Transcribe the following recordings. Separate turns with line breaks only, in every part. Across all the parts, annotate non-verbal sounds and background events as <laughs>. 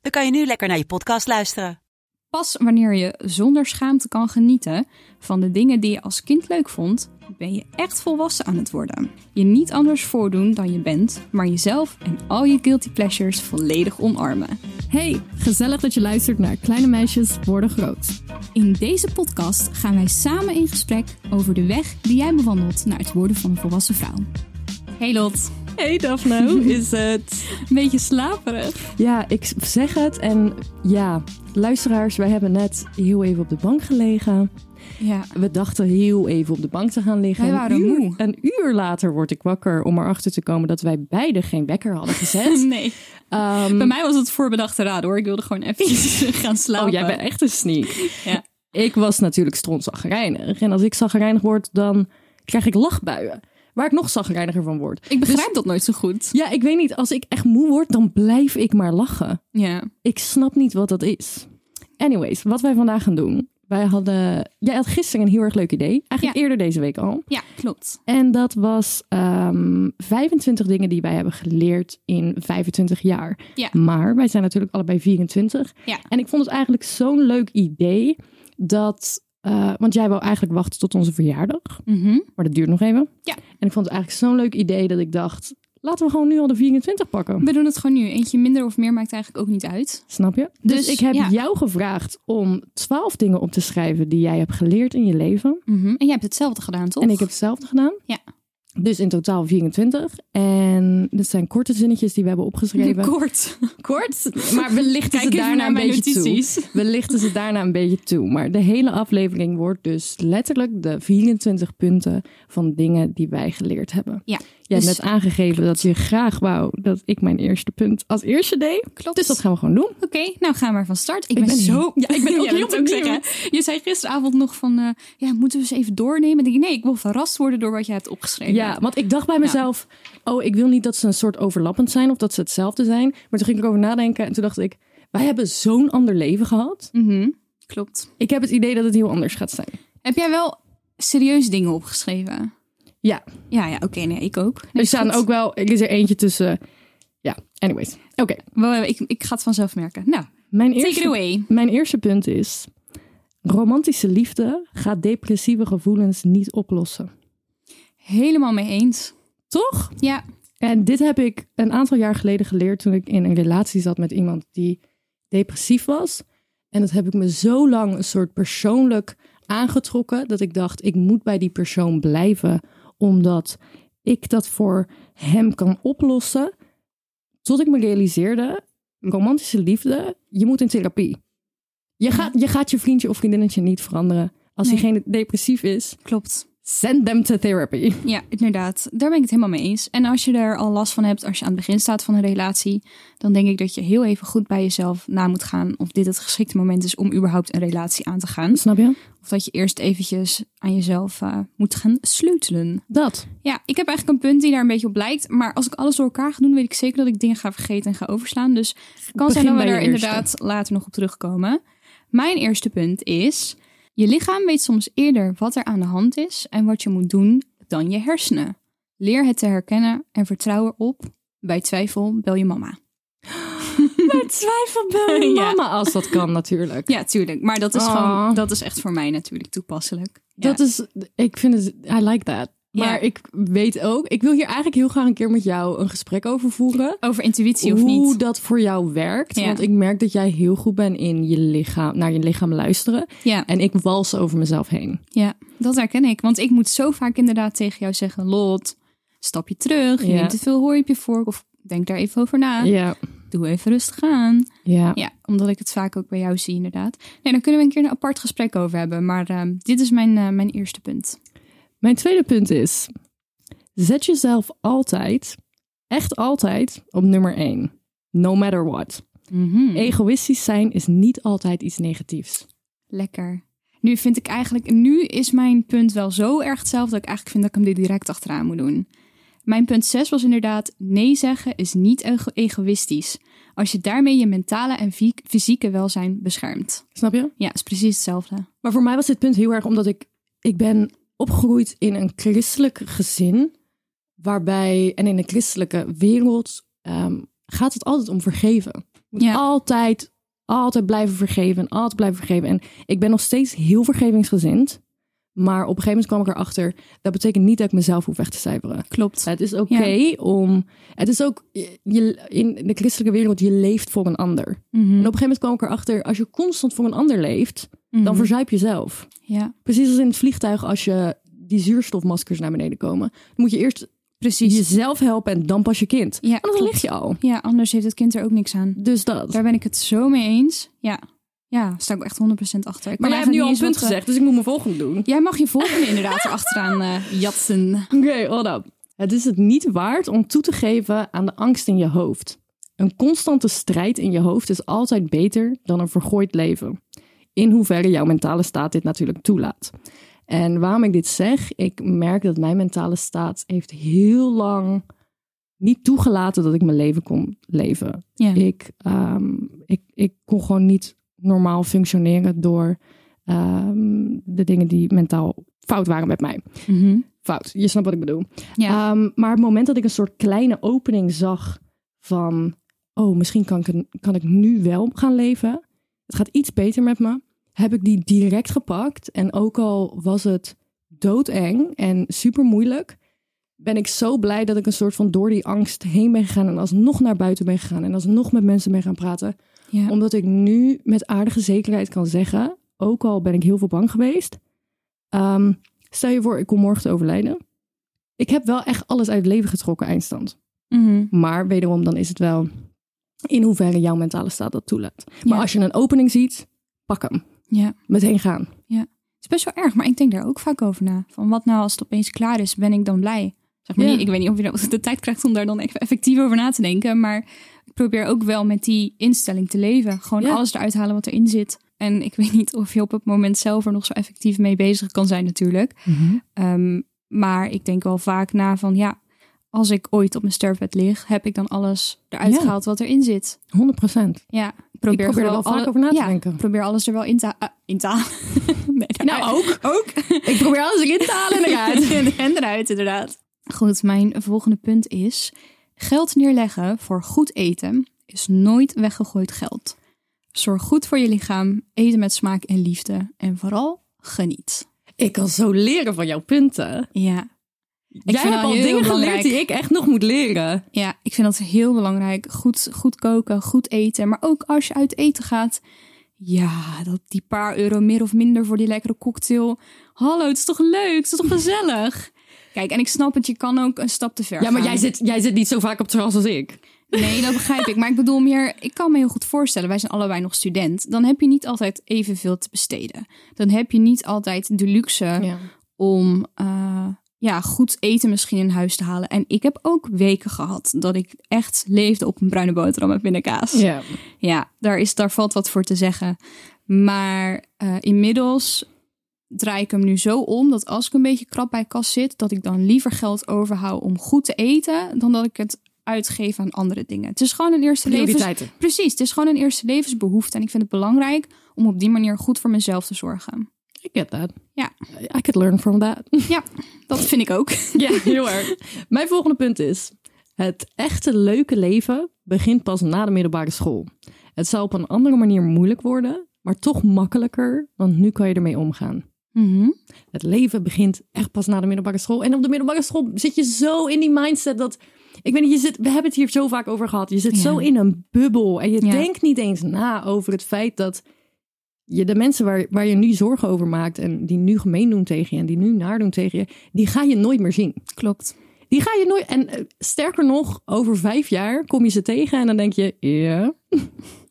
dan kan je nu lekker naar je podcast luisteren.
Pas wanneer je zonder schaamte kan genieten van de dingen die je als kind leuk vond, ben je echt volwassen aan het worden. Je niet anders voordoen dan je bent, maar jezelf en al je guilty pleasures volledig omarmen.
Hey, gezellig dat je luistert naar Kleine Meisjes Worden Groot.
In deze podcast gaan wij samen in gesprek over de weg die jij bewandelt naar het worden van een volwassen vrouw. Hey Lot,
Hey Daphne, hoe is het?
een beetje slaperig.
Ja, ik zeg het en ja, luisteraars, wij hebben net heel even op de bank gelegen.
Ja,
We dachten heel even op de bank te gaan liggen.
Wij waren
een uur,
moe.
Een uur later word ik wakker om erachter te komen dat wij beide geen wekker hadden gezet.
<laughs> nee.
Ehm,
Bij mij was het voorbedachte raad hoor. Ik wilde gewoon even <laughs> gaan slapen.
oh, jij bent echt een sneak.
Ja.
Ik was natuurlijk strontzaggerijnig. En als ik zaggerijnig word, dan krijg ik lachbuien. Waar ik nog zaggerijniger van word. Dus,
Ik begrijp dat nooit zo goed.
Ja, ik weet niet. Als ik echt moe word, dan blijf ik maar lachen.
Ja.
Ik snap niet wat dat is. Anyways, wat wij vandaag gaan doen. Wij hadden, jij had gisteren een heel erg leuk idee. Eigenlijk
Ja.
eerder deze week al.
Ja, klopt.
En dat was ehm, 25 dingen die wij hebben geleerd in 25 jaar.
Ja.
Maar wij zijn natuurlijk allebei 24.
Ja.
En ik vond het eigenlijk zo'n leuk idee dat... eh, want jij wou eigenlijk wachten tot onze verjaardag.
Mhm.
Maar dat duurt nog even.
Ja.
En ik vond het eigenlijk zo'n leuk idee dat ik dacht... laten we gewoon nu al de 24 pakken.
We doen het gewoon nu. Eentje minder of meer maakt eigenlijk ook niet uit.
Snap je?
Dus,
Dus, ik heb
ja.
jou gevraagd om 12 dingen op te schrijven... die jij hebt geleerd in je leven.
Mhm. En jij hebt hetzelfde gedaan, toch?
En ik heb hetzelfde gedaan.
Ja.
Dus in totaal 24. En dat zijn korte zinnetjes die we hebben
<laughs>
opgeschreven.
kort. Kort?
maar we lichten
Kijk
ze
even
daarna
naar
een
mijn
beetje toe.
notities.
We lichten ze daarna een beetje toe. Maar de hele aflevering wordt dus letterlijk de 24 punten van dingen die wij geleerd hebben.
Ja.
Jij
Dus-
hebt net aangegeven dat je graag wou dat ik mijn eerste punt als eerste deed.
Klopt.
Dus dat gaan we gewoon doen.
Oké, nou gaan we maar van start. Ik, ben,
ben
zo...
heel- Ja,
<laughs>
ik ben ook
Jij
heel
moet ook
benieuwd.
zeggen. Je zei gisteravond nog van, eh, ja, moeten we ze even doornemen? Ik denk, nee, ik wil verrast worden door wat jij hebt opgeschreven.
Ja, want ik dacht bij mezelf, oh, ik wil niet dat ze een soort overlappend zijn of dat ze hetzelfde zijn. Maar toen ging ik erover nadenken en toen dacht ik, wij hebben zo'n ander leven gehad.
Mhm, Klopt.
Ik heb het idee dat het heel anders gaat zijn.
Heb jij wel serieus dingen opgeschreven?
Ja,
Ja, ja, oké, nee, ik ook. Nee,
er staan
goed.
ook wel, er is er eentje tussen. Ja, anyways. Oké,
Wel, Ik, ik ga het vanzelf merken. Nou,
mijn,
take it
eerste-
away.
mijn eerste punt is, romantische liefde gaat depressieve gevoelens niet oplossen.
Helemaal mee eens.
Toch?
Ja,
En dit heb ik een aantal jaar geleden geleerd toen ik in een relatie zat met iemand die depressief was. En dat heb ik me zo lang een soort persoonlijk aangetrokken dat ik dacht, ik moet bij die persoon blijven, omdat ik dat voor hem kan oplossen. Tot ik me realiseerde, romantische liefde, je moet in therapie. Je gaat je, gaat je vriendje of vriendinnetje niet veranderen. Als
Nee.
diegene depressief is,
klopt.
send them to therapy.
Ja, inderdaad. Daar ben ik het helemaal mee eens. En als je er al last van hebt, als je aan het begin staat van een relatie, dan denk ik dat je heel even goed bij jezelf na moet gaan of dit het geschikte moment is om überhaupt een relatie aan te gaan.
Snap je?
Of dat je eerst eventjes aan jezelf eh, moet gaan sleutelen.
Dat.
Ja, ik heb eigenlijk een punt die daar een beetje op lijkt. Maar als ik alles door elkaar ga doen, weet ik zeker dat ik dingen ga vergeten en ga overslaan. Dus het kan zijn dat we
bij je
daar
eerste.
inderdaad later nog op terugkomen. Mijn eerste punt is: je lichaam weet soms eerder wat er aan de hand is en wat je moet doen dan je hersenen. Leer het te herkennen en vertrouw erop. Bij twijfel bel je mama.
twijfel bel je
<laughs> Ja.
mama als dat kan natuurlijk.
Ja, tuurlijk. Maar dat is
Oh.
gewoon, dat is echt voor mij natuurlijk toepasselijk.
Dat is, ik vind het, I like that.
Ja.
Maar ik weet ook, ik wil hier eigenlijk heel graag een keer met jou een gesprek over voeren.
Over intuïtie of
hoe
niet?
dat voor jou werkt.
Ja.
Want ik merk dat jij heel goed bent in je lichaam, naar je lichaam luisteren.
Ja.
En ik wals over mezelf heen.
Ja, dat herken ik. Want ik moet zo vaak inderdaad tegen jou zeggen: Lot, stap je terug. Je
Ja.
neemt te veel hooi op je vork. Of denk daar even over na.
Ja.
Doe even rustig aan.
Ja.
Ja, omdat ik het vaak ook bij jou zie, inderdaad. Nee, daar kunnen we een keer een apart gesprek over hebben. Maar ehm, dit is mijn, eh, mijn eerste punt.
Mijn tweede punt is, zet jezelf altijd, echt altijd, op nummer één. No matter what.
Mhm.
Egoïstisch zijn is niet altijd iets negatiefs.
Lekker. Nu vind ik eigenlijk, nu is mijn punt wel zo erg hetzelfde dat ik eigenlijk vind dat ik hem er direct achteraan moet doen. Mijn punt 6 was inderdaad, nee zeggen is niet ego- egoïstisch. Als je daarmee je mentale en fy- fysieke welzijn beschermt.
Snap je?
Ja, is precies hetzelfde.
Maar voor mij was dit punt heel erg omdat ik, ik ben opgegroeid in een christelijk gezin. Waarbij, en in de christelijke wereld, ehm, gaat het altijd om vergeven. Je moet
Ja.
altijd, altijd blijven vergeven en altijd blijven vergeven. En ik ben nog steeds heel vergevingsgezind. Maar op een gegeven moment kwam ik erachter, dat betekent niet dat ik mezelf hoef weg te cijferen.
Klopt.
Het is oké om. Het is ook. je- Je, in de christelijke wereld, je leeft voor een ander.
Mhm.
En op een gegeven moment kwam ik erachter. Als je constant voor een ander leeft,
Mhm.
dan verzuip je zelf.
Ja,
Precies als in het vliegtuig, als je die zuurstofmaskers naar beneden komen. Dan moet je eerst
precies.
jezelf helpen en dan pas je kind.
Ja,
Anders
klopt.
lig je al.
Ja, anders heeft het kind er ook niks aan.
Dus dat.
Daar ben ik het zo mee eens. Ja, ja sta ik echt 100% achter. Ik kan
maar jij hebt
eigenlijk
nu al een
niet eens
punt
wat, eh,
gezegd, dus ik moet mijn volgende doen.
Jij mag je volgende inderdaad <laughs> erachteraan eh jatsen.
Oké, hold up. Het is het niet waard om toe te geven aan de angst in je hoofd. Een constante strijd in je hoofd is altijd beter dan een vergooid leven. In hoeverre jouw mentale staat dit natuurlijk toelaat. En waarom ik dit zeg, ik merk dat mijn mentale staat heeft heel lang niet toegelaten dat ik mijn leven kon leven.
Ja.
Ik, ehm, ik, ik kon gewoon niet normaal functioneren door ehm, de dingen die mentaal fout waren met mij.
Mhm.
Fout, je snapt wat ik bedoel.
Ja.
Ehm, maar het moment dat ik een soort kleine opening zag van... oh, misschien kan ik, een- kan ik nu wel gaan leven. Het gaat iets beter met me. Heb ik die direct gepakt. En ook al was het doodeng en super moeilijk... ben ik zo blij dat ik een soort van door die angst heen ben gegaan... en alsnog naar buiten ben gegaan en alsnog met mensen ben gaan praten.
ja.
Omdat ik nu met aardige zekerheid kan zeggen... ook al ben ik heel veel bang geweest... ehm, stel je voor, ik kom morgen te overlijden... Ik heb wel echt alles uit het leven getrokken, eindstand.
Mhm.
Maar wederom, dan is het wel in hoeverre jouw mentale staat dat toelaat. Maar
Ja.
als je een opening ziet, pak hem.
ja.
Meteen gaan.
Het is best wel erg, maar ik denk daar ook vaak over na. Van wat nou als het opeens klaar is, ben ik dan blij? Zeg maar
Ja.
niet, ik weet niet of je nou de tijd krijgt om daar dan echt effectief over na te denken. Maar ik probeer ook wel met die instelling te leven. Gewoon
Ja.
alles eruit halen wat erin zit. En ik <laughs> weet niet of je op het moment zelf er nog zo effectief mee bezig kan zijn natuurlijk.
Mhm.
Ehm, maar ik denk wel vaak na van ja, als ik ooit op mijn sterfbed lig, heb ik dan alles eruit
Ja.
gehaald wat erin zit.
100 procent.
Ja, ik
probeer er
gewoon
wel vaak over na te
ja,
denken.
ik probeer alles er wel in te ha- eh, in te halen. <laughs> Nee,
Nou, ook.
<laughs> ook.
Ik probeer alles erin te halen en eruit.
<laughs> en eruit, inderdaad. Goed, mijn volgende punt is... Geld neerleggen voor goed eten is nooit weggegooid geld. Zorg goed voor je lichaam, eten met smaak en liefde. En vooral, geniet.
<laughs> Ik kan zo leren van jouw punten.
Ja,
Ik nou Jij
vind
hebt
dat
al
heel
dingen
belangrijk.
geleerd die ik echt nog moet leren.
ja ik vind dat heel belangrijk. Goed, goed koken, goed eten. Maar ook als je uit eten gaat... Ja, dat die paar euro meer of minder voor die lekkere cocktail. Hallo, het is toch leuk? Het is toch gezellig? Kijk, en ik snap het, je kan ook een stap te ver
Ja, maar
gaan.
jij zit, jij zit niet zo vaak op het terras als ik.
Nee, dat begrijp ik. Maar ik bedoel meer, ik kan me heel goed voorstellen, wij zijn allebei nog student. Dan heb je niet altijd evenveel te besteden. Dan heb je niet altijd de luxe om eh, ja, goed eten misschien in huis te halen. En ik heb ook weken gehad dat ik echt leefde op een bruine boterham met pindakaas.
ja.
Ja, daar, is, daar valt wat voor te zeggen. Maar eh, inmiddels draai ik hem nu zo om dat als ik een beetje krap bij kas zit, dat ik dan liever geld overhoud om goed te eten dan dat ik het uitgeef aan andere dingen. Het is gewoon een eerste levens...
Prioriteiten.
Precies, het is gewoon een eerste levensbehoefte en ik vind het belangrijk om op die manier goed voor mezelf te zorgen.
I get that.
Ja.
I could learn from that.
Ja, dat vind ik ook.
<laughs> Ja, heel erg. <laughs> Mijn volgende punt is: het echte leuke leven begint pas na de middelbare school. Het zal op een andere manier moeilijk worden, maar toch makkelijker, want nu kan je ermee omgaan.
Mhm.
Het leven begint echt pas na de middelbare school. En op de middelbare school zit je zo in die mindset dat. Ik weet niet, je zit, we hebben het hier zo vaak over gehad. Je zit zo in een bubbel en je
Ja.
denkt niet eens na over het feit dat je de mensen waar, waar je nu zorgen over maakt en die nu gemeen doen tegen je en die nu naar doen tegen je, die ga je nooit meer zien.
Klopt.
Die ga je nooit. En eh, sterker nog, over vijf jaar kom je ze tegen en dan denk je: ja, <laughs>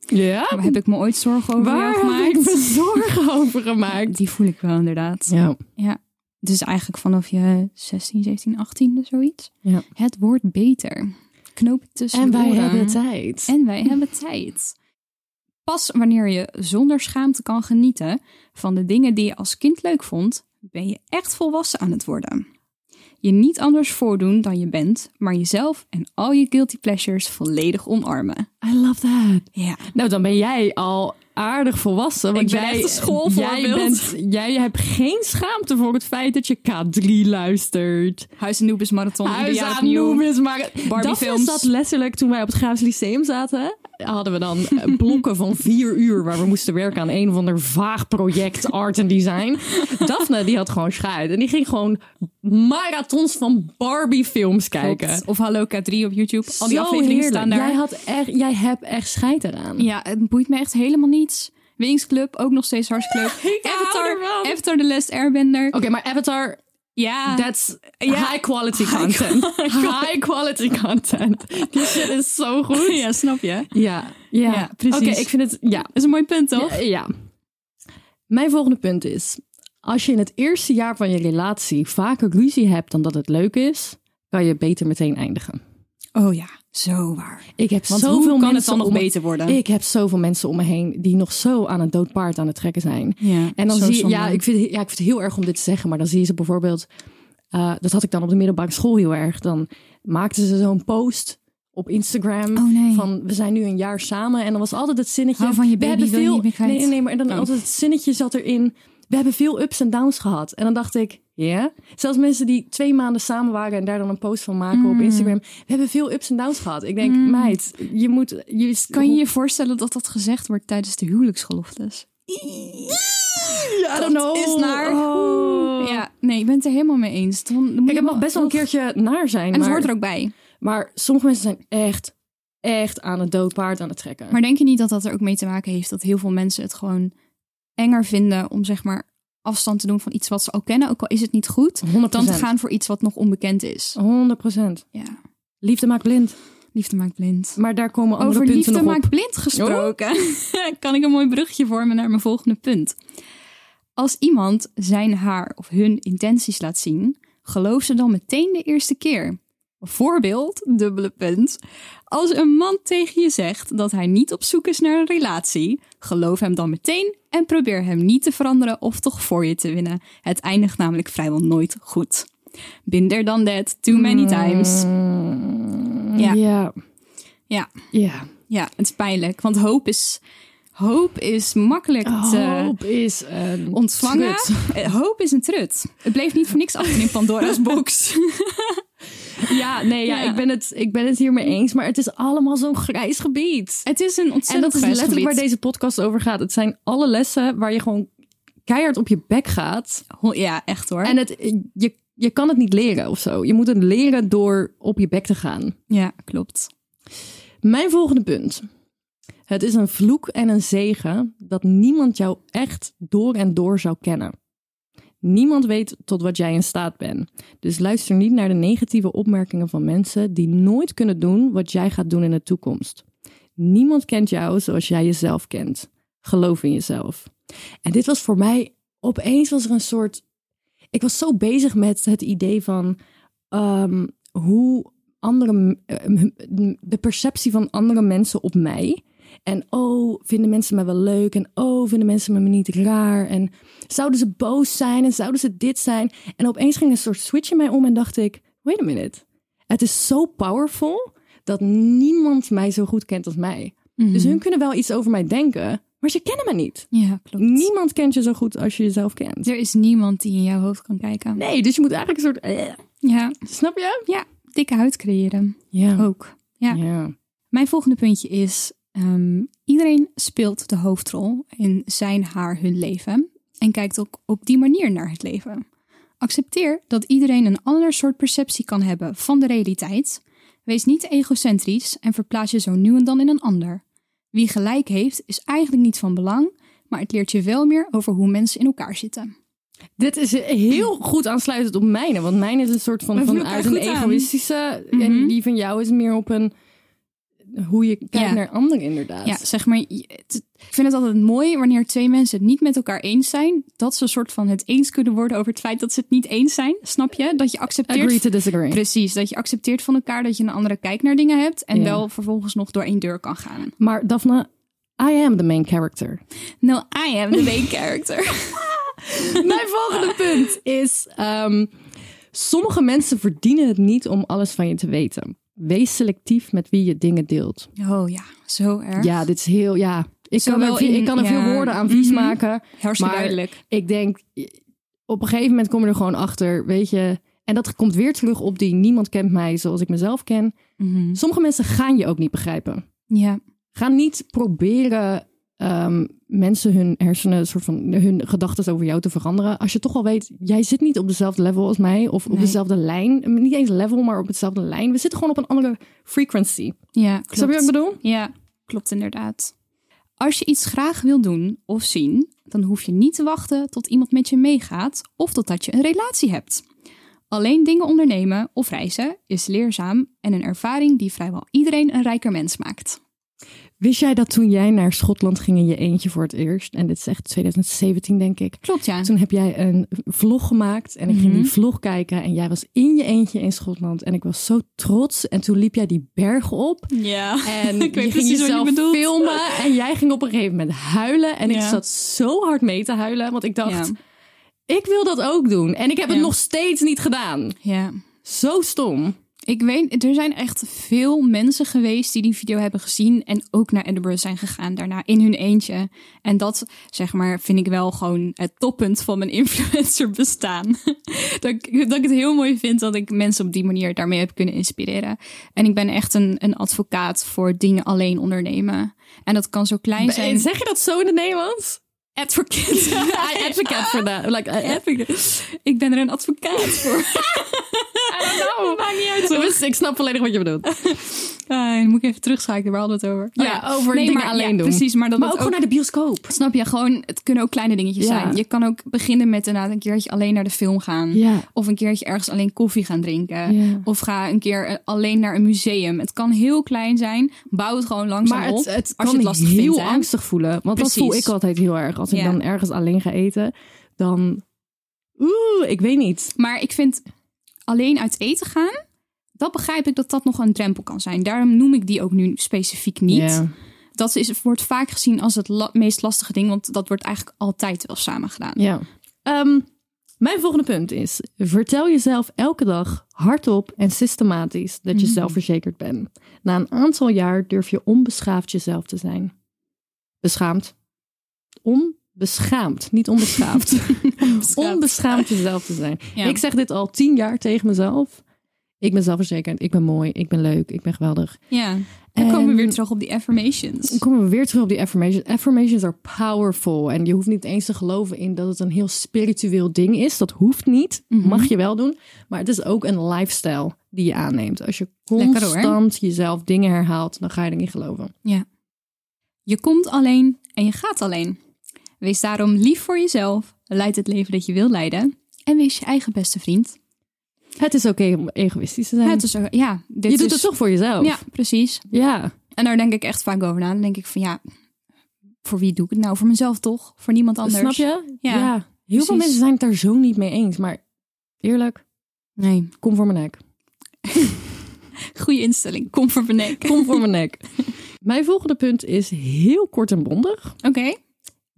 ja,
Maar heb ik me ooit zorgen over jou
waar heb ik
gemaakt?
me <laughs>
<laughs>
zorgen over gemaakt?
Die voel ik wel inderdaad.
Ja,
Ja, dus eigenlijk vanaf je 16, 17, 18 zoiets.
Ja.
Het wordt beter. Knoop het tussen
en
de
wij
oren.
hebben tijd.
En wij hebben tijd. Pas wanneer je zonder schaamte kan genieten van de dingen die je als kind leuk vond, ben je echt volwassen aan het worden. Je niet anders voordoen dan je bent, maar jezelf en al je guilty pleasures volledig omarmen.
I love that.
Ja.
Nou, dan ben jij al aardig volwassen. Want
Ik ben
jij,
echt een schoolvoorbeeld.
Jij, bent, jij hebt geen schaamte voor het feit dat je K3 luistert.
Huis Anubis Marathon. ieder
Huis
jaar
aan
opnieuw.
Noemis, maar
Barbie
dat
films.
is dat letterlijk toen wij op het Graafs Lyceum zaten. Hadden we dan <laughs> eh, blokken van vier uur waar we moesten werken aan een of ander vaag project art en design. Daphne die had gewoon schuit en die ging gewoon marathons van Barbie films kijken.
Klopt. Of Hallo K3 op YouTube. Al die
Zo
afleveringen
heerlijk.
staan daar.
Jij, had echt, jij hebt echt scheid eraan.
Ja, het boeit me echt helemaal niets. Wingsclub, ook nog steeds hartstikke leuk. <laughs>
hou
Avatar,
ervan.
Avatar The Last Airbender.
Oké, maar Avatar,
Oh, Ja,
that's
Ja.
Ah. high quality content. <laughs> High quality content. Die shit is zo goed.
ja, <laughs> snap je?
Ja, ja,
Ja, precies.
Oké, ik vind het, ja,
Dat is een mooi punt, toch?
Ja, Ja. Mijn volgende punt is: als je in het eerste jaar van je relatie vaker ruzie hebt dan dat het leuk is, kan je beter meteen eindigen.
Oh ja, zo waar.
Ik heb
Want
zoveel
hoe kan het
mensen
dan nog
om me-
beter worden?
Ik heb zoveel mensen om me heen die nog zo aan het dood paard aan het trekken zijn.
Ja,
en dan
zo
zie je,
zonde.
ja, ik vind, ja, ik vind het heel erg om dit te zeggen, maar dan zie je ze bijvoorbeeld, eh, dat had ik dan op de middelbare school heel erg. Dan maakten ze zo'n post op Instagram
Oh, nee.
van we zijn nu een jaar samen en dan was altijd het zinnetje
Hou van je baby,
we hebben
wil je
veel
niet meer kwijt.
nee nee nee maar en dan
Oh.
altijd het zinnetje zat erin we hebben veel ups en downs gehad en dan dacht ik ja zelfs mensen die twee maanden samen waren en daar dan een post van maken
Hmm.
op Instagram we hebben veel ups en downs gehad ik denk meid je moet je
Kan je je voorstellen dat dat gezegd wordt tijdens de huwelijksgeloftes?
I don't know
is naar.
Oh.
Ja, nee, ik ben het er helemaal mee eens. Dan, dan moet
Kijk,
je
het mag best wel een keertje naar zijn.
En het
maar,
hoort er ook bij.
maar sommige mensen zijn echt, echt aan het doodpaard aan het trekken.
Maar denk je niet dat dat er ook mee te maken heeft dat heel veel mensen het gewoon enger vinden om zeg maar afstand te doen van iets wat ze al kennen, ook al is het niet goed,
100%.
dan te gaan voor iets wat nog onbekend is?
100%.
Ja,
Liefde maakt blind.
liefde maakt blind.
Maar daar komen andere
Over
punten
liefde
nog op. Oh.
maakt blind gesproken. <laughs> kan ik een mooi brugje vormen naar mijn volgende punt. Als iemand zijn haar of hun intenties laat zien, geloof ze dan meteen de eerste keer. Bijvoorbeeld, dubbele punt. Als een man tegen je zegt dat hij niet op zoek is naar een relatie, geloof hem dan meteen en probeer hem niet te veranderen of toch voor je te winnen. Het eindigt namelijk vrijwel nooit goed. Binder dan that, too
Hmm.
many times. Ja.
Ja.
Ja.
Ja.
Ja, het is pijnlijk. Want hoop is, hoop is makkelijk te
Oh, Hoop is een
ontvangen.
trut.
Eh, Hoop is een trut. Het bleef niet voor niks achter in
<laughs>
Pandora's box.
Ja, nee, ja,
Ja.
Ik, ben het, ik ben het hiermee eens. Maar het is allemaal zo'n grijs gebied.
Het is een
En
ontzettend
dat is
grijs
letterlijk waar
gebied.
deze podcast over gaat. Het zijn alle lessen waar je gewoon keihard op je bek gaat.
Ho- Ja, echt hoor.
En het, je, je kan het niet leren of zo. Je moet het leren door op je bek te gaan.
ja, klopt.
Mijn volgende punt. Het is een vloek en een zegen dat niemand jou echt door en door zou kennen. Niemand weet tot wat jij in staat bent. Dus luister niet naar de negatieve opmerkingen van mensen die nooit kunnen doen wat jij gaat doen in de toekomst. Niemand kent jou zoals jij jezelf kent. Geloof in jezelf. En dit was voor mij opeens was er een soort. Ik was zo bezig met het idee van ehm, hoe andere, m- eh, m- de perceptie van andere mensen op mij. En oh, vinden mensen me wel leuk? En oh, vinden mensen me niet raar? En zouden ze boos zijn? En zouden ze dit zijn? En opeens ging een soort switch in mij om en dacht ik, wait a minute. Het is zo powerful dat niemand mij zo goed kent als mij. Dus hun kunnen wel iets over mij denken, maar ze kennen me niet.
Ja, klopt.
Niemand kent je zo goed als je jezelf kent.
er is niemand die in jouw hoofd kan kijken.
Nee, dus je moet eigenlijk een soort... eh,
Ja,
snap je? Oh.
ja dikke huid creëren.
Ja.
Ook. Ja.
ja.
Mijn volgende puntje is: ehm, iedereen speelt de hoofdrol in zijn, haar, hun leven en kijkt ook op die manier naar het leven. Accepteer dat iedereen een ander soort perceptie kan hebben van de realiteit. Wees niet egocentrisch en verplaats je zo nu en dan in een ander. Wie gelijk heeft is eigenlijk niet van belang, maar het leert je wel meer over hoe mensen in elkaar zitten.
Dit is heel
Hm.
goed aansluitend op mijne. Want mijn is een soort van
We vullen
vanuit een
elkaar goed aan.
egoïstische.
Mhm.
En die van jou is meer op een. hoe je kijkt
Ja.
naar anderen, inderdaad.
Ja, zeg maar, je- het- ik vind het altijd mooi wanneer twee mensen het niet met elkaar eens zijn. Dat ze een soort van het eens kunnen worden over het feit dat ze het niet eens zijn. Snap je? Dat je accepteert.
Agree to disagree.
Precies, dat je accepteert van elkaar dat je een andere kijk naar dingen hebt. En
Ja.
wel vervolgens nog door één deur kan gaan.
Maar Daphne, I am the main
<laughs>
character. Nou,
No, I am the main character.
Mijn volgende punt is: ehm, sommige mensen verdienen het niet om alles van je te weten. Wees selectief met wie je dingen deelt.
<laughs> Oh ja, zo erg.
Ja, dit is heel. Ja, ik kan,
Zowel
er, vi-
in-
ik kan er
ja.
veel woorden aan vies
Mhm.
maken.
Hartstikke
maar
duidelijk.
Ik denk, op een gegeven moment kom je er gewoon achter, weet je. En dat komt weer terug op die niemand kent mij zoals ik mezelf ken.
Mhm.
Sommige mensen gaan je ook niet begrijpen.
Ja.
Ga niet proberen ehm, mensen hun hersenen, soort van hun gedachten over jou te veranderen. Als je toch al weet, jij zit niet op dezelfde level als mij of op
Nee.
dezelfde lijn. Niet eens level, maar op hetzelfde lijn. We zitten gewoon op een andere frequency.
Ja, klopt.
Snap je wat ik bedoel?
Ja, klopt inderdaad. Als je iets graag wil doen of zien, dan hoef je niet te wachten tot iemand met je meegaat of totdat je een relatie hebt. Alleen dingen ondernemen of reizen is leerzaam en een ervaring die vrijwel iedereen een rijker mens maakt.
Wist jij dat toen jij naar Schotland ging in je eentje voor het eerst? En dit is echt 2017, denk ik.
Klopt ja.
Toen heb jij een vlog gemaakt en ik ging
Mhm.
die vlog kijken. En jij was in je eentje in Schotland. En ik was zo trots. En toen liep jij die berg op.
Ja. <laughs>
En
Ik weet
je ging
precies wat je
jezelf
bedoelt.
filmen. En jij ging op een gegeven moment huilen. En ik
Ja.
zat zo hard mee te huilen. Want ik dacht,
Ja.
ik wil dat ook doen. En ik heb
Ja.
het nog steeds niet gedaan.
ja.
Zo stom.
Ik weet, er zijn echt veel mensen geweest die die video hebben gezien en ook naar Edinburgh zijn gegaan daarna in hun eentje. En dat, zeg maar, vind ik wel gewoon het toppunt van mijn <laughs> influencer bestaan. <laughs> dat, ik, dat ik het heel mooi vind dat ik mensen op die manier daarmee heb kunnen inspireren. En ik ben echt een, een advocaat voor dingen alleen ondernemen. En dat kan zo klein zijn.
Eh, <laughs> Zeg je dat zo in het
<laughs>
Nederlands? <laughs>
Advocate.
I advocate for that. Like, I-
<laughs> ik ben er een advocaat
<laughs>
voor. Nou,
Oh, maakt niet <laughs> uit. Dus ik snap volledig wat je bedoelt.
Eh, dan moet ik even terugschakelen, waar hadden we het over?
Ja, over dingen
maar,
alleen
ja,
doen.
Precies, maar dat het ook
naar de bioscoop.
Snap je? Gewoon, het kunnen ook kleine dingetjes
Ja.
zijn. Je kan ook beginnen met inderdaad een keertje alleen naar de film gaan.
Ja.
Of een keertje ergens alleen koffie gaan drinken.
Ja.
Of ga een keer eh, alleen naar een museum. Het kan heel klein zijn. Bouw het gewoon langzaam
Maar het,
op.
het
als
kan
je het lastig
heel
vindt. hè.
angstig voelen. Want
Precies.
dat voel ik altijd heel erg. Als ik
Ja.
dan ergens alleen ga eten, dan... Oeh, ik weet niet.
Maar ik vind alleen uit eten gaan. Dat begrijp ik dat dat nog een drempel kan zijn. Daarom noem ik die ook nu specifiek niet.
Ja.
Dat is, wordt vaak gezien als het la- meest lastige ding. Want dat wordt eigenlijk altijd wel samen gedaan.
Ja. Ehm, mijn volgende punt is: vertel jezelf elke dag hardop en systematisch dat je zelfverzekerd bent. Na een aantal jaar durf je onbeschaafd jezelf te zijn. Beschaamd. Onbeschaamd, niet onbeschaafd. <laughs> onbeschaamd jezelf te zijn.
Ja.
Ik zeg dit al tien jaar tegen mezelf. Ik ben zelfverzekerd, ik ben mooi, ik ben leuk, ik ben geweldig.
Ja. Dan komen we
En-
weer terug op die affirmations.
Dan komen we weer terug op die affirmations. Affirmations are powerful. En je hoeft niet eens te geloven in dat het een heel spiritueel ding is. Dat hoeft niet.
Mhm.
Mag je wel doen. Maar het is ook een lifestyle die je aanneemt. Als je
Lekker hoor.
constant jezelf dingen herhaalt, dan ga je erin geloven.
Ja. Je komt alleen en je gaat alleen. Wees daarom lief voor jezelf, leid het leven dat je wil leiden en wees je eigen beste vriend.
Het is oké om egoïstisch te zijn.
Het is, ook- ja, dit
je doet
is-
het toch voor jezelf.
Ja, precies.
Ja.
En daar denk ik echt vaak over na. Dan denk ik van ja, voor wie doe ik het nou? Voor mezelf toch? Voor niemand anders.
Snap je?
Ja,
Heel
precies.
veel mensen zijn het daar zo niet mee eens. Maar eerlijk,
Nee.
kom voor mijn nek.
Goede instelling. Kom voor beneden.
Kom voor mijn nek. <laughs> Mijn volgende punt is heel kort en bondig.
Oké.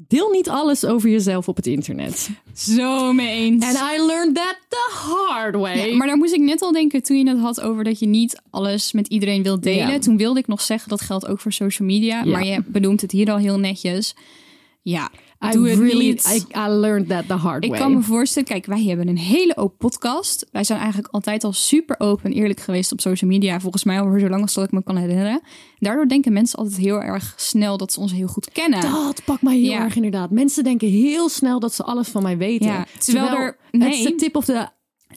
Deel niet alles over jezelf op het internet.
Zo mee eens.
And I learned that the hard way.
Ja, maar daar moest ik net al denken toen je het had over dat je niet alles met iedereen wilt delen.
Ja.
Toen wilde ik nog zeggen dat geldt ook voor social media. Maar je benoemt het hier al heel netjes. Ja,
I
doe het
really,
niet.
I, I learned that the hard
ik
way.
kan me voorstellen, kijk, wij hebben een hele open podcast. Wij zijn eigenlijk altijd al super open en eerlijk geweest op social media. Volgens mij al zo lang als dat ik me kan herinneren. Daardoor denken mensen altijd heel erg snel dat ze ons heel goed kennen.
dat pakt mij heel
Ja.
erg inderdaad. Mensen denken heel snel dat ze alles van mij weten.
Ja, terwijl er-
Het
nee.
is de tip of de...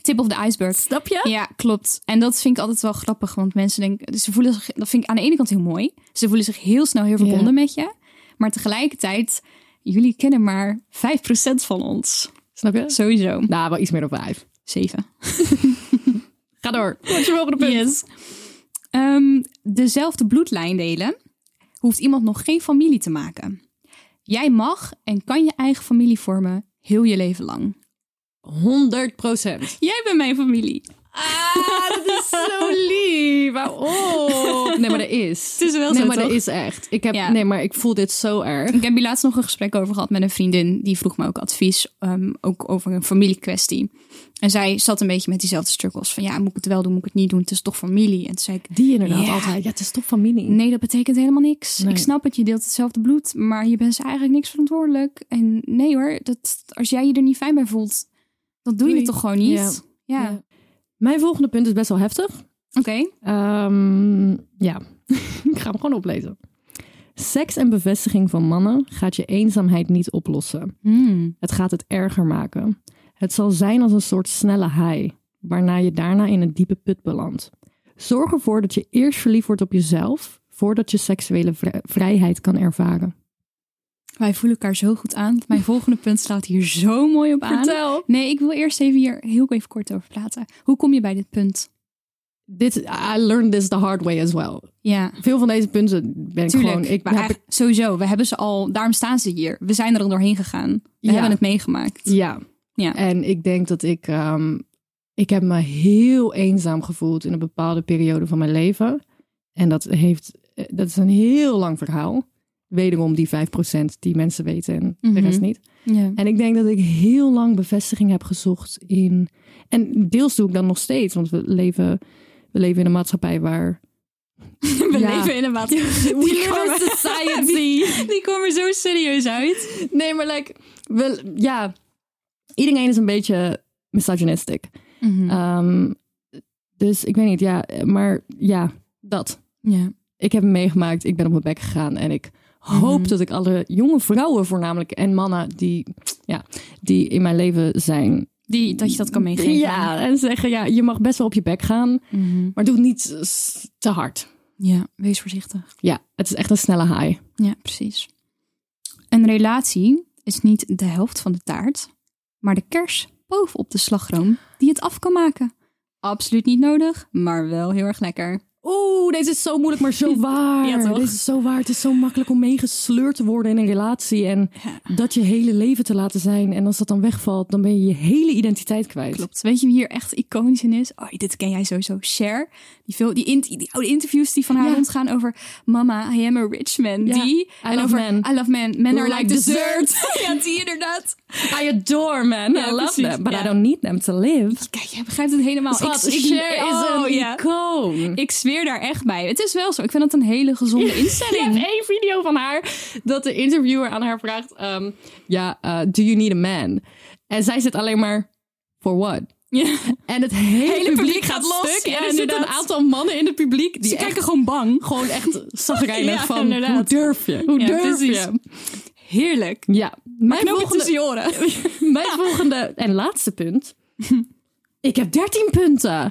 Tip of the iceberg.
Snap je?
Ja, klopt. En dat vind ik altijd wel grappig, want mensen denken, dus ze voelen zich, dat vind ik aan de ene kant heel mooi. Ze voelen zich heel snel heel verbonden met je. Maar tegelijkertijd, jullie kennen maar 5% van ons.
Snap je?
Sowieso.
Nou, wel iets meer dan vijf.
7.
Ga door. Wat is je volgende punt?
Yes. Ehm, dezelfde bloedlijn delen hoeft iemand nog geen familie te maken. Jij mag en kan je eigen familie vormen heel je leven lang.
100%.
Jij bent mijn familie.
Ah, dat is zo lief. Waarom? <laughs> Nee, maar er Oh. is.
Het is wel
nee,
zo,
maar
toch?
er is echt. Ik heb,
Ja.
Nee, maar ik voel dit zo erg.
Ik heb hier laatst nog een gesprek over gehad met een vriendin. Die vroeg me ook advies, ehm, ook over een familiekwestie. En zij zat een beetje met diezelfde struggles. Van ja, moet ik het wel doen, moet ik het niet doen? Het is toch familie? En toen zei ik,
Die inderdaad
Ja.
altijd. Ja, het is toch familie.
nee, dat betekent helemaal niks.
Nee.
Ik snap het, je deelt hetzelfde bloed. Maar je bent eigenlijk niks verantwoordelijk. En nee hoor, dat, als jij je er niet fijn bij voelt, dan doe je
Doei.
het toch gewoon niet? Ja.
Ja. Mijn volgende punt is best wel heftig.
Oké.
Ehm, ja, <laughs> ik ga hem gewoon oplezen. Seks en bevestiging van mannen gaat je eenzaamheid niet oplossen.
Hmm.
Het gaat het erger maken. Het zal zijn als een soort snelle high, waarna je daarna in een diepe put belandt. Zorg ervoor dat je eerst verliefd wordt op jezelf, voordat je seksuele vri- vrijheid kan ervaren.
Wij voelen elkaar zo goed aan. Mijn volgende punt slaat hier zo mooi op aan. Nee, ik wil eerst even hier heel even kort over praten. Hoe kom je bij dit punt?
Dit, I learned this the hard way as well.
Ja,
Veel van deze punten ben ik
tuurlijk.
gewoon... Ik,
maar
heb
eigenlijk- sowieso, we hebben ze al, daarom staan ze hier. We zijn er al doorheen gegaan. We
Ja.
hebben het meegemaakt.
Ja.
Ja.
En ik denk dat ik... ehm, ik heb me heel eenzaam gevoeld in een bepaalde periode van mijn leven. En dat, heeft, eh, dat is een heel lang verhaal. Wederom die 5% die mensen weten en de
Mhm.
rest niet.
Ja.
En ik denk dat ik heel lang bevestiging heb gezocht in... En deels doe ik dat nog steeds, want we leven, we leven in een maatschappij waar...
<laughs> We
Ja.
leven in een maatschappij. <laughs> Die komen-
society!
<laughs> Die komen zo serieus uit.
nee, maar like... We, ja, iedereen is een beetje misogynistic.
Ah,
Ehm, dus ik weet niet, ja, maar ja, dat.
Ja.
Ik heb hem meegemaakt, ik ben op mijn bek gegaan en ik hoop
Mhm.
dat ik alle jonge vrouwen voornamelijk en mannen die, ja, die in mijn leven zijn.
Die, dat je dat kan meegeven.
Ja, en zeggen, ja, je mag best wel op je bek gaan,
Mhm.
maar doe het niet s- te hard.
ja, wees voorzichtig.
Ja, het is echt een snelle high.
Ja, precies. Een relatie is niet de helft van de taart, maar de kers bovenop de slagroom die het af kan maken. Absoluut niet nodig, maar wel heel erg lekker.
Oeh, deze is zo moeilijk, maar <laughs> zo waar.
Ja, toch?
Deze is zo waar. Het is zo makkelijk om meegesleurd te worden in een relatie. En dat je hele leven te laten zijn. En als dat dan wegvalt, dan ben je je hele identiteit kwijt.
Klopt. Weet je wie hier echt iconisch in is? Oh, dit ken jij sowieso. Cher. Die, veel, die, int- die oude interviews die van haar
Ja.
rondgaan over... Mama, I am a rich man.
Ja.
Die.
I love
over
men.
I love men. Men are
Like
like, dessert. <laughs> ja, die inderdaad.
I adore men.
Ja,
I love
precies.
them, but
Ja.
I don't need them to live.
Kijk, jij begrijpt het helemaal.
Schat,
ik, ik,
Cher
oh,
is een
ja.
icoon.
Ik zweer daar echt bij. Het is wel zo. Ik vind dat een hele gezonde
Je hebt
instelling.
één video van haar dat de interviewer aan haar vraagt... ehm, ja, eh, do you need a man? En zij zit alleen maar, for what?
Ja.
En het hele, publiek,
publiek
gaat
gaat los.
stuk.
Ja,
en er zitten
inderdaad.
een aantal mannen in het publiek die
Ze
echt
kijken gewoon bang.
gewoon echt zagrijnig
Ja,
van
inderdaad.
hoe durf je? Hoe
Ja,
durf
precies.
je?
Heerlijk.
Ja, mijn
Knoop het tussen
volgende,
je oren.
mijn volgende en laatste <laughs> punt. Ik heb 13 punten.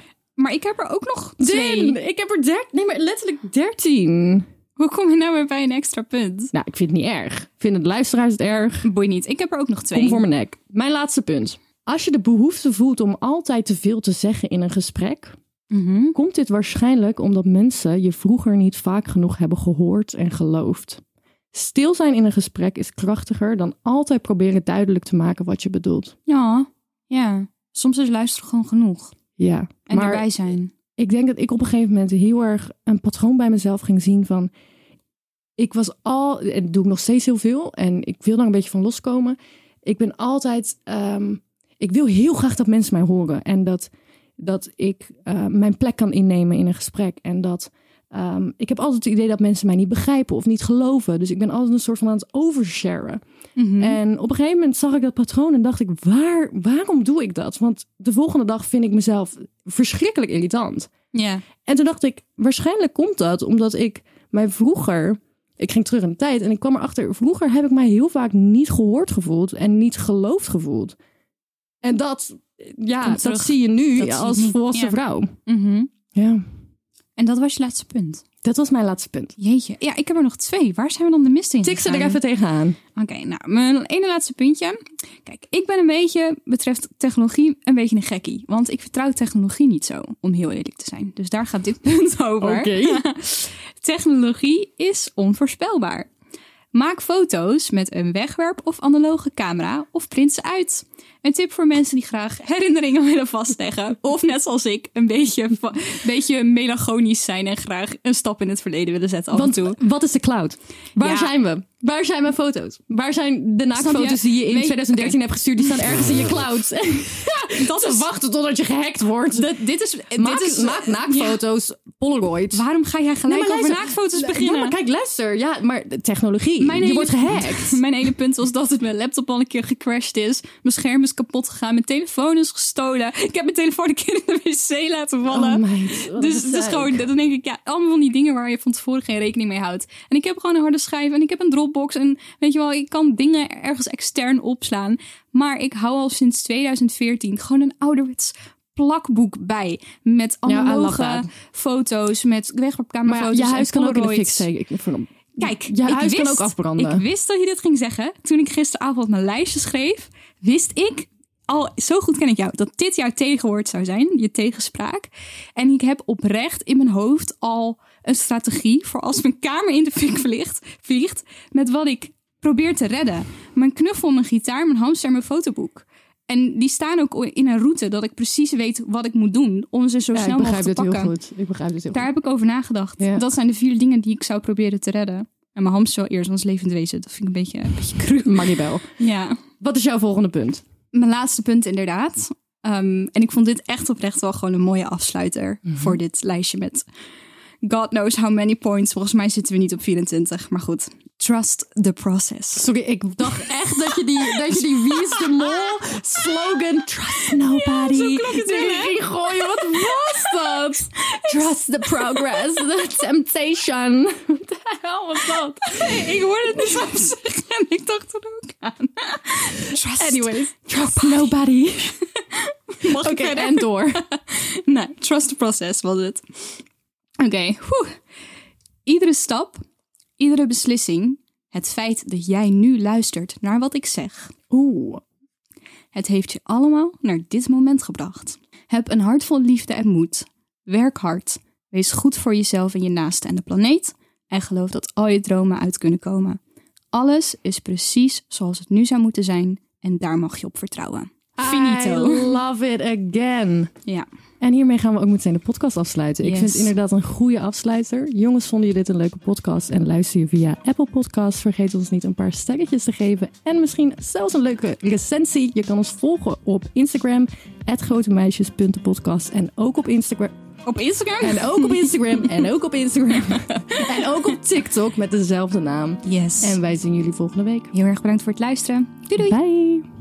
<laughs> Maar ik heb er ook nog twee.
Din, ik heb er 13. Nee, maar letterlijk 13.
Hoe kom je nou weer bij een extra punt?
Nou, ik vind het niet erg. Vinden de luisteraars het erg?
Boeit niet. Ik heb er ook nog twee.
Kom voor mijn nek. Mijn laatste punt. Als je de behoefte voelt om altijd te veel te zeggen in een gesprek,
Mhm.
komt dit waarschijnlijk omdat mensen je vroeger niet vaak genoeg hebben gehoord en geloofd. Stil zijn in een gesprek is krachtiger dan altijd proberen duidelijk te maken wat je bedoelt.
Ja, ja. Soms is luisteren gewoon genoeg.
Ja,
En
maar
erbij zijn.
ik denk dat ik op een gegeven moment heel erg een patroon bij mezelf ging zien van... Ik was al, en doe ik nog steeds heel veel, en ik wil daar een beetje van loskomen. Ik ben altijd, ehm, ik wil heel graag dat mensen mij horen. En dat, dat ik eh, mijn plek kan innemen in een gesprek. En dat, ehm, ik heb altijd het idee dat mensen mij niet begrijpen of niet geloven. Dus ik ben altijd een soort van aan het oversharen.
Mhm.
En op een gegeven moment zag ik dat patroon en dacht ik, waar, waarom doe ik dat? Want de volgende dag vind ik mezelf verschrikkelijk irritant.
Ja.
En toen dacht ik, waarschijnlijk komt dat omdat ik mij vroeger... Ik ging terug in de tijd en ik kwam erachter... Vroeger heb ik mij heel vaak niet gehoord gevoeld en niet geloofd gevoeld. En dat, ja,
Komt
dat
terug.
zie je nu
Dat zie je
als
niet.
volwassen
Ja.
vrouw.
Mhm.
Ja,
En dat was je laatste punt.
dat was mijn laatste punt.
Jeetje. Ja, ik heb er nog twee. Waar zijn we dan de mist in
Tik ze er
gegaan?
even tegenaan.
Oké, nou, mijn ene laatste puntje. Kijk, ik ben een beetje, betreft technologie, een beetje een gekkie. Want ik vertrouw technologie niet zo, om heel eerlijk te zijn. Dus daar <laughs> gaat dit punt over. Technologie is onvoorspelbaar. Maak foto's met een wegwerp of analoge camera of print ze uit. Een tip voor mensen die graag herinneringen <laughs> willen vastleggen. Of net zoals ik, een beetje, va- een beetje melancholisch zijn en graag een stap in het verleden willen zetten af en
Want eh,
toe.
wat is de cloud? Waar
Ja.
zijn we? Waar zijn mijn foto's? Waar zijn de naaktfoto's die je in
Weet-
2013 hebt gestuurd? Die staan ergens in je cloud.
<laughs>
<laughs>
Dat
Ze wachten totdat je gehackt wordt.
dit, dit is...
maak,
dit is
Eh, maak naakfoto's, Polaroids.
Waarom ga jij gelijk over
luister,
naakfoto's
ja,
beginnen?
maar kijk, luister. Ja, maar de technologie.
Mijn
je
hele-
wordt <laughs> gehackt.
Mijn hele punt <laughs> was dat het mijn laptop al een keer gecrashed is. Mijn scherm is kapot gegaan. Mijn telefoon is gestolen. Ik heb mijn telefoon een keer in de wc laten vallen.
meid, Oh wat
dus
een
het is
zeik.
gewoon, dan denk ik, ja, allemaal van die dingen waar je van tevoren geen rekening mee houdt. En ik heb gewoon een harde schijf en ik heb een Dropbox. En weet je wel, ik kan dingen ergens extern opslaan. Maar ik hou al sinds 2014 gewoon een ouderwets plakboek bij. Met
I love
analoge
that.
foto's, met
Maar ja,
wegwerpkamerfoto's
je huis
en
kan ook in de fik
Polaroids.
steken. Ik vind hem-
Kijk,
je
ik
huis
wist,
kan ook afbranden.
Ik wist dat je dit ging zeggen. Toen ik gisteravond mijn lijstje schreef, wist ik al, zo goed ken ik jou, dat dit jouw tegenwoord zou zijn, je tegenspraak. En ik heb oprecht in mijn hoofd al een strategie voor als mijn kamer in de fik vliegt, vliegt met wat ik probeer te redden. Mijn knuffel, mijn gitaar, mijn hamster, mijn fotoboek. En die staan ook in een route dat ik precies weet wat ik moet doen om ze zo
Ja,
snel mogelijk
ik begrijp
te
dit
pakken.
heel goed. Ik begrijp dit heel
Daar
goed.
heb ik over nagedacht.
Ja.
Dat zijn de vier dingen die ik zou proberen te redden. En mijn hamster wel eerst, ons levend wezen. Dat vind ik een beetje, een beetje cru.
Maar niet wel.
Ja.
Wat is jouw volgende punt?
Mijn laatste punt inderdaad. Ehm, en ik vond dit echt oprecht wel gewoon een mooie afsluiter
Mhm.
voor dit lijstje met... God knows how many points. Volgens mij zitten we niet op 24, maar goed. Trust the process.
Sorry, ik dacht echt dat je die, dat je die Wie is de Mol slogan Trust nobody.
zo klonk het
tegen
wel, hè?
ging gooien. Wat was dat? Trust the progress, the temptation. What the hell was dat?
<laughs> ik hoorde het niet op zeggen en ik dacht er ook aan.
Trust,
Anyways.
trust nobody.
Mag ik
Oké,
verder?
en door.
<laughs> Nee, trust the process was het. Oké, woe. iedere stap, iedere beslissing, het feit dat jij nu luistert naar wat ik zeg,
Oeh.
het heeft je allemaal naar dit moment gebracht. Heb een hart vol liefde en moed. Werk hard. Wees goed voor jezelf en je naasten en de planeet. En geloof dat al je dromen uit kunnen komen. Alles is precies zoals het nu zou moeten zijn. En daar mag je op vertrouwen. Finito.
I love it again.
Ja.
En hiermee gaan we ook meteen de podcast afsluiten. Ik
Yes.
vind het inderdaad een goede afsluiter. Jongens, vonden je dit een leuke podcast en luister je via Apple Podcasts? Vergeet ons niet een paar sterretjes te geven en misschien zelfs een leuke recensie. Je kan ons volgen op Instagram, grotemeisjes.podcast en ook op Instagram.
Op Instagram?
En ook op Instagram en ook op
<laughs>
Instagram. en ook op TikTok met dezelfde naam.
Yes. Ehm,
En wij zien jullie volgende week.
Heel erg bedankt voor het luisteren. Doei doei.
Bye!